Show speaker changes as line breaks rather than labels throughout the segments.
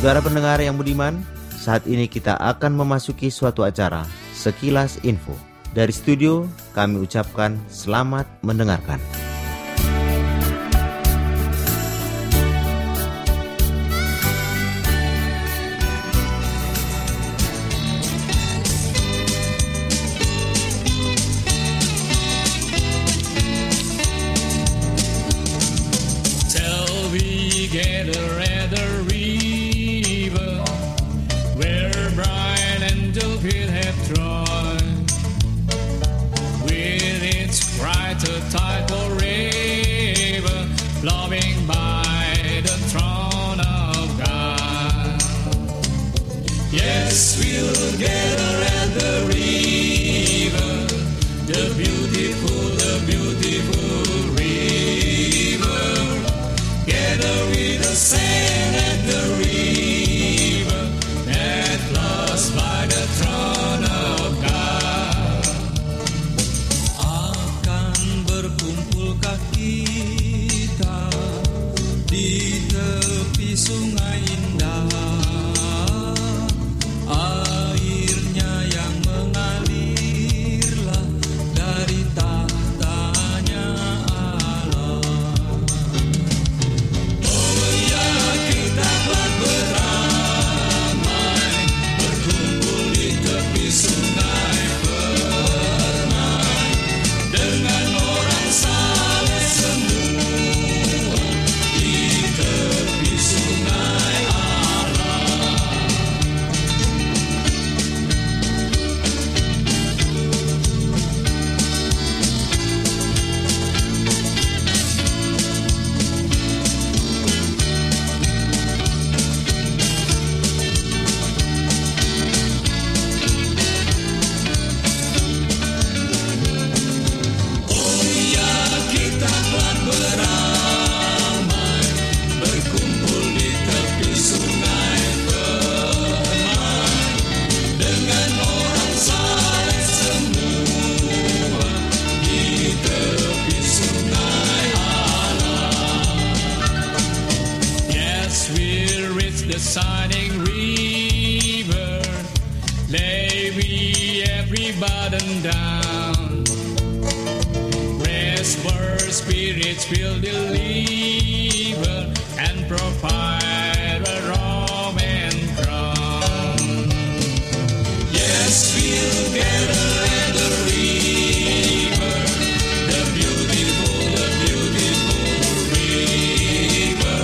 Saudara pendengar yang budiman, saat ini kita akan memasuki suatu acara sekilas info. Dari studio kami ucapkan selamat mendengarkan.
Till we get rid the river where Brian and Delpit have tried with its cry to tidal river flowing by the throne of God. Yes, we'll gather at the river, the beautiful, the beautiful river. Gather with the sand at the river that flows by the throne of God. Akan berkumpulkah kita di tepi sungai indah? Airnya yang mengalirlah dari tahtanya Allah. Yes, we'll reach the shining river. Lay we every burden down. Rest for spirits will deliver and provide a robe and crown. Yes, we'll gather at the river, the beautiful, the beautiful river.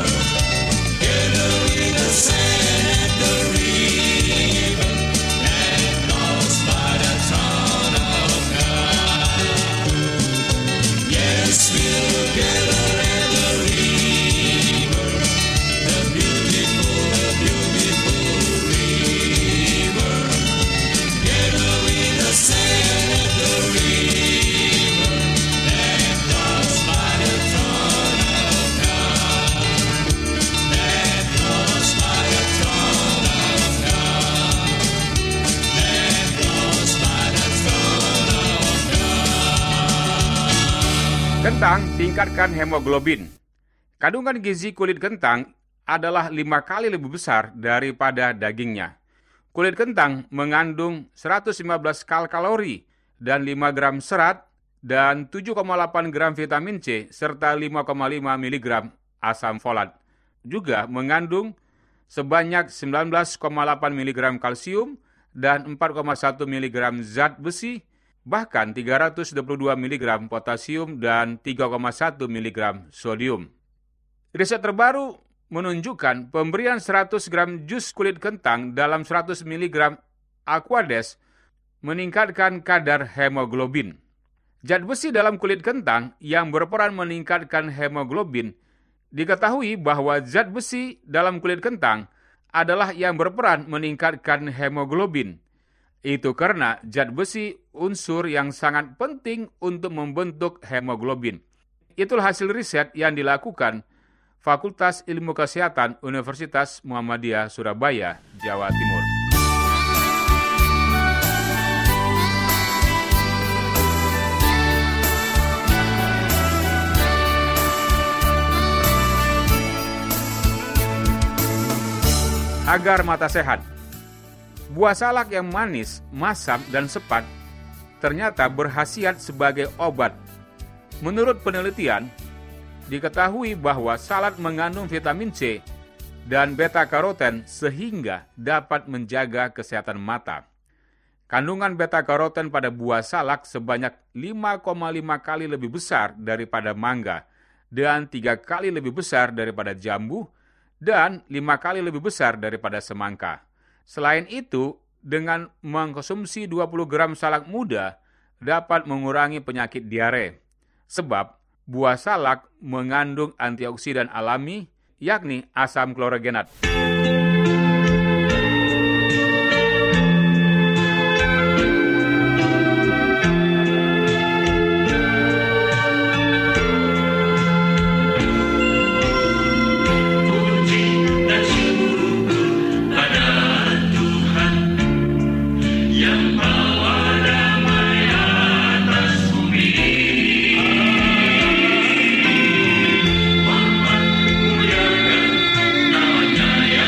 Kentang tingkatkan hemoglobin. Kandungan gizi kulit kentang adalah lima kali lebih besar daripada dagingnya. Kulit kentang mengandung 115 kal kalori dan 5 gram serat,
dan 7,8 gram vitamin C serta 5,5 mg asam folat. Juga mengandung sebanyak 19,8 mg kalsium dan 4,1 mg zat besi, bahkan 322 mg potasium dan 3,1 mg sodium. Riset terbaru menunjukkan pemberian 100 gram jus kulit kentang dalam 100 mg Aquades meningkatkan kadar hemoglobin. Zat besi dalam kulit kentang yang berperan meningkatkan hemoglobin diketahui bahwa zat besi dalam kulit kentang adalah yang berperan meningkatkan hemoglobin. Itu karena zat besi unsur yang sangat penting untuk membentuk hemoglobin. Itulah hasil riset yang dilakukan Fakultas Ilmu Kesehatan Universitas Muhammadiyah Surabaya, Jawa Timur. agar mata sehat. Buah salak yang manis, masam, dan sepat ternyata berhasiat sebagai obat. Menurut penelitian, diketahui bahwa salad mengandung vitamin C dan beta karoten sehingga dapat menjaga kesehatan mata. Kandungan beta karoten pada buah salak sebanyak 5,5 kali lebih besar daripada mangga dan 3 kali lebih besar daripada jambu, dan lima kali lebih besar daripada semangka. Selain itu, dengan mengkonsumsi 20 gram salak muda dapat mengurangi penyakit diare. Sebab buah salak mengandung antioksidan alami yakni asam klorogenat.
Muliakan namanya ya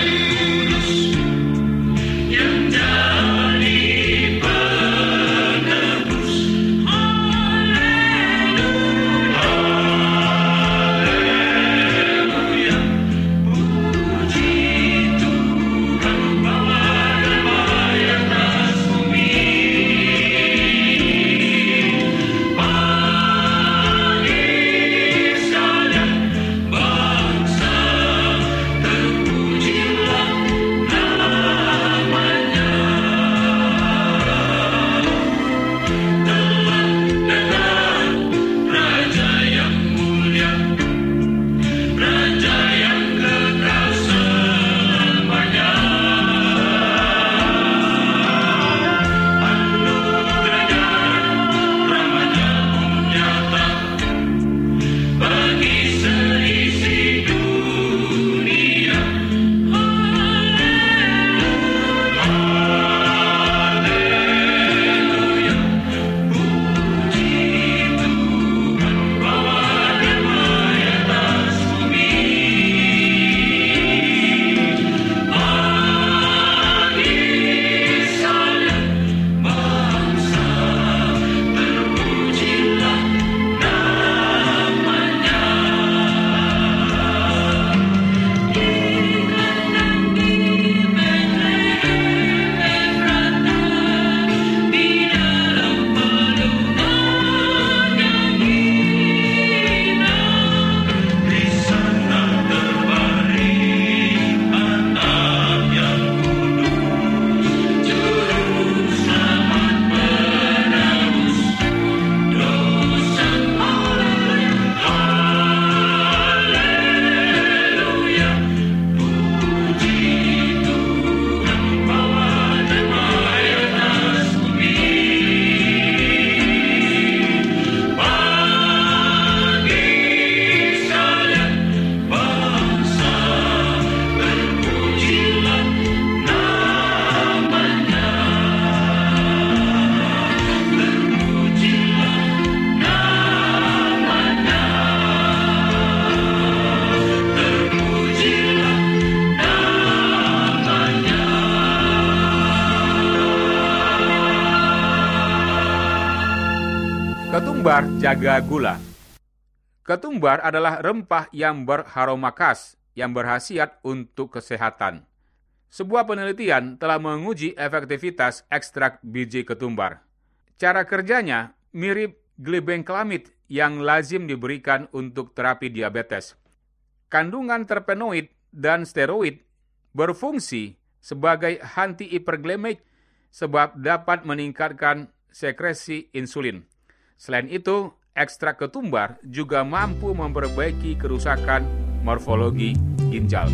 Ketumbar jaga gula. Ketumbar adalah rempah yang berharoma khas yang berhasiat untuk kesehatan. Sebuah penelitian telah menguji efektivitas ekstrak biji ketumbar. Cara kerjanya mirip glebeng kelamid yang lazim diberikan untuk terapi diabetes. Kandungan terpenoid dan steroid berfungsi sebagai antihiperglemik sebab dapat meningkatkan sekresi insulin. Selain itu, ekstrak ketumbar juga mampu memperbaiki kerusakan morfologi ginjal.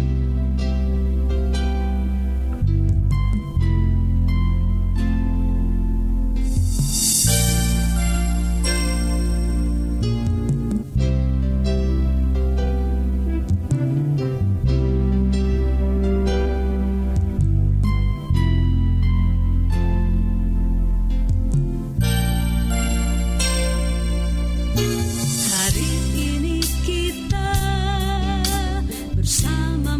Hari ini kita bersama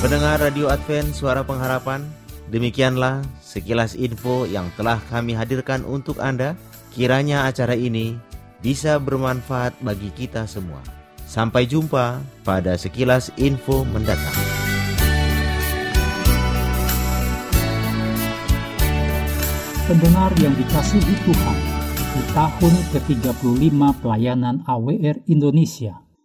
Pendengar Radio Advent Suara Pengharapan, demikianlah sekilas info yang telah kami hadirkan untuk Anda. Kiranya acara ini bisa bermanfaat bagi kita semua. Sampai jumpa pada sekilas info mendatang.
Pendengar yang dikasihi Tuhan, di tahun ke-35 pelayanan AWR Indonesia,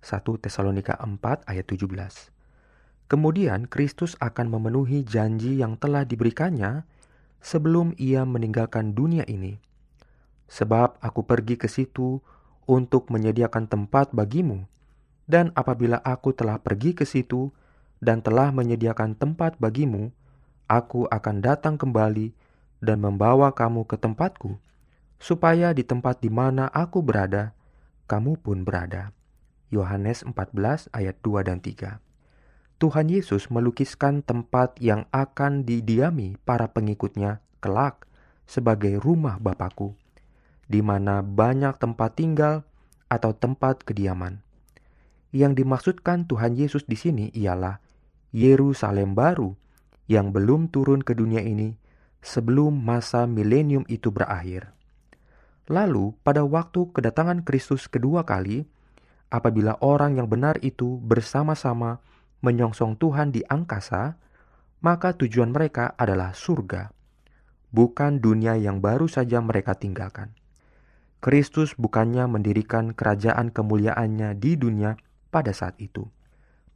1 Tesalonika 4 ayat 17. Kemudian Kristus akan memenuhi janji yang telah diberikannya sebelum ia meninggalkan dunia ini. Sebab aku pergi ke situ untuk menyediakan tempat bagimu, dan apabila aku telah pergi ke situ dan telah menyediakan tempat bagimu, aku akan datang kembali dan membawa kamu ke tempatku, supaya di tempat di mana aku berada, kamu pun berada. Yohanes 14 ayat 2 dan 3. Tuhan Yesus melukiskan tempat yang akan didiami para pengikutnya kelak sebagai rumah Bapakku, di mana banyak tempat tinggal atau tempat kediaman. Yang dimaksudkan Tuhan Yesus di sini ialah Yerusalem baru yang belum turun ke dunia ini sebelum masa milenium itu berakhir. Lalu, pada waktu kedatangan Kristus kedua kali, apabila orang yang benar itu bersama-sama menyongsong Tuhan di angkasa, maka tujuan mereka adalah surga, bukan dunia yang baru saja mereka tinggalkan. Kristus bukannya mendirikan kerajaan kemuliaannya di dunia pada saat itu.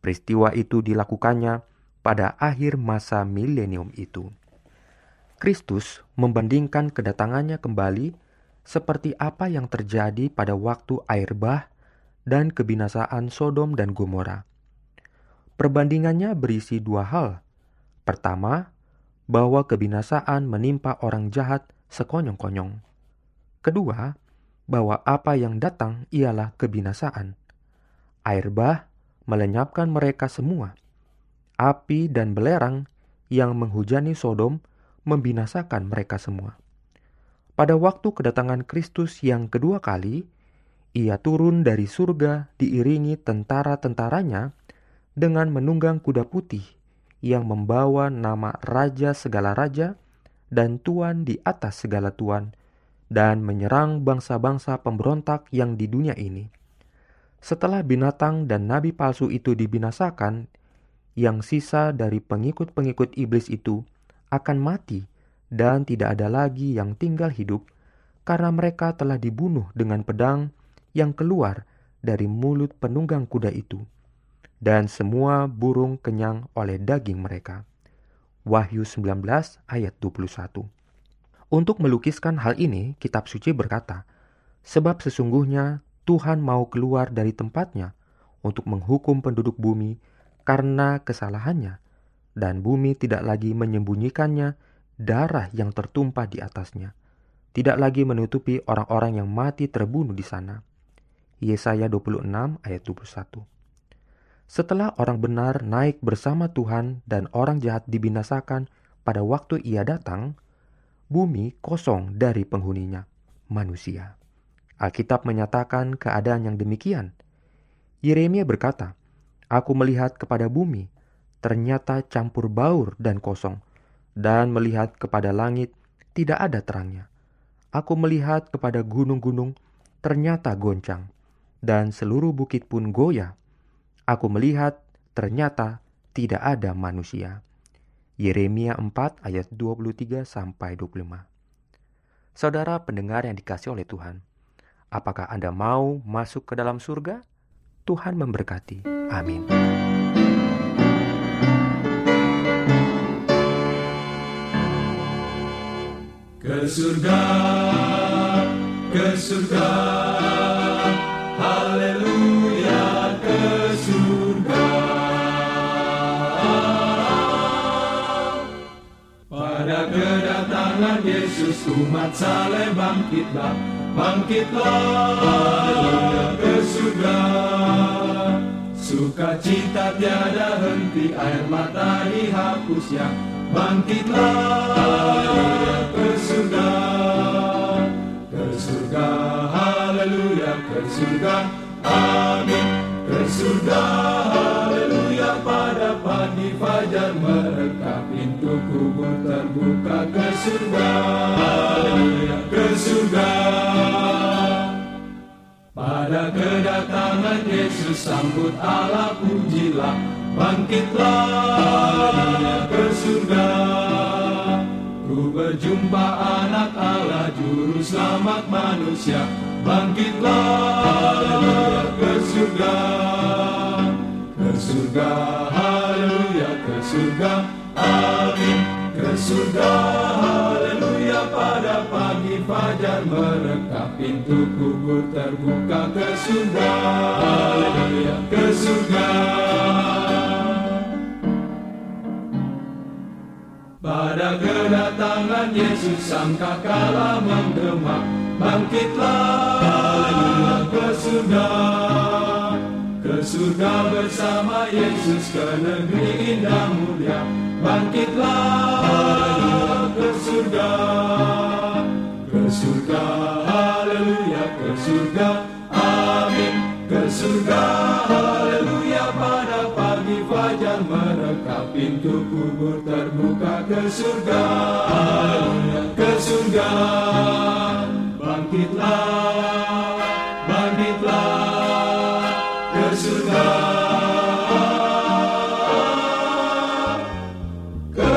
Peristiwa itu dilakukannya pada akhir masa milenium itu. Kristus membandingkan kedatangannya kembali seperti apa yang terjadi pada waktu air bah dan kebinasaan Sodom dan Gomora. Perbandingannya berisi dua hal. Pertama, bahwa kebinasaan menimpa orang jahat sekonyong-konyong. Kedua, bahwa apa yang datang ialah kebinasaan. Air bah melenyapkan mereka semua. Api dan belerang yang menghujani Sodom membinasakan mereka semua. Pada waktu kedatangan Kristus yang kedua kali, ia turun dari surga diiringi tentara-tentaranya dengan menunggang kuda putih yang membawa nama Raja segala Raja dan Tuan di atas segala Tuan dan menyerang bangsa-bangsa pemberontak yang di dunia ini. Setelah binatang dan nabi palsu itu dibinasakan, yang sisa dari pengikut-pengikut iblis itu akan mati dan tidak ada lagi yang tinggal hidup karena mereka telah dibunuh dengan pedang yang keluar dari mulut penunggang kuda itu dan semua burung kenyang oleh daging mereka. Wahyu 19 ayat 21. Untuk melukiskan hal ini, kitab suci berkata, "Sebab sesungguhnya Tuhan mau keluar dari tempatnya untuk menghukum penduduk bumi karena kesalahannya, dan bumi tidak lagi menyembunyikannya darah yang tertumpah di atasnya, tidak lagi menutupi orang-orang yang mati terbunuh di sana." Yesaya 26 ayat 21. Setelah orang benar naik bersama Tuhan dan orang jahat dibinasakan pada waktu ia datang, bumi kosong dari penghuninya, manusia. Alkitab menyatakan keadaan yang demikian. Yeremia berkata, Aku melihat kepada bumi, ternyata campur baur dan kosong, dan melihat kepada langit, tidak ada terangnya. Aku melihat kepada gunung-gunung, ternyata goncang, dan seluruh bukit pun goyah. Aku melihat, ternyata tidak ada manusia. Yeremia 4 ayat 23 sampai 25. Saudara pendengar yang dikasih oleh Tuhan, apakah Anda mau masuk ke dalam surga? Tuhan memberkati. Amin.
Ke surga, ke surga, haleluya ke surga. Pada kedatangan Yesus umat saleh bangkitlah, bangkitlah ke surga. Sukacita tiada henti, air mata dihapusnya, bangkitlah ke surga. Ke surga, haleluya, ke surga, amin. Ke surga, haleluya, pada pagi fajar mereka pintu kubur terbuka ke surga. Haleluya, ke surga. Pada kedatangan Yesus sambut Allah pujilah Bangkitlah ke surga Ku berjumpa anak Allah juru selamat manusia Bangkitlah ke surga Ke surga, haleluya, ke surga, amin Ke surga, haleluya, pada pagi fajar mereka Pintu kubur terbuka ke surga, haleluya, ke surga Pada kedatangan Yesus sangka kala menggema Bangkitlah ke surga Ke surga bersama Yesus ke negeri indah mulia Bangkitlah ke surga Ke surga, haleluya, ke surga, amin Ke surga, haleluya, pada pagi fajar mereka Pintu kubur terbuka ke surga Haleluya, ke surga Bangkitlah, bangkitlah ke surga Ke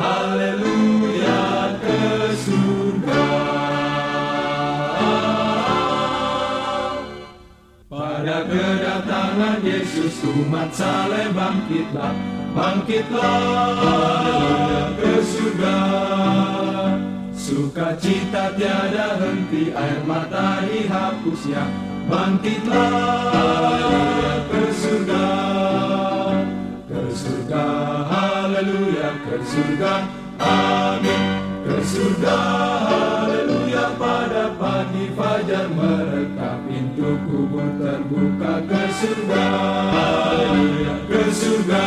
haleluya ke surga. Pada kedatangan Yesus umat saleh bangkitlah, bangkitlah ke surga. Sukacita tiada henti, air mata dihapusnya. Bangkitlah ke surga, ke surga, haleluya ke surga, amin. Ke surga, haleluya pada pagi fajar mereka pintu kubur terbuka ke surga, haleluya ke surga.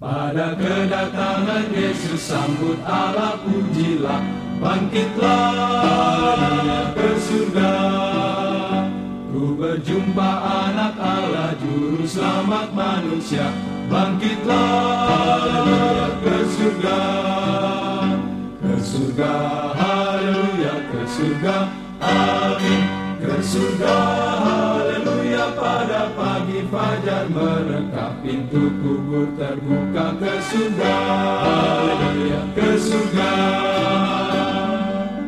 Pada kedatangan Yesus sambut Allah pujilah Bangkitlah ke surga Ku berjumpa anak Allah juru selamat manusia Bangkitlah ke surga Ke surga, haleluya ke surga, amin Ke surga, haleluya pada pagi fajar mereka pintu kubur terbuka ke surga haleluya ke surga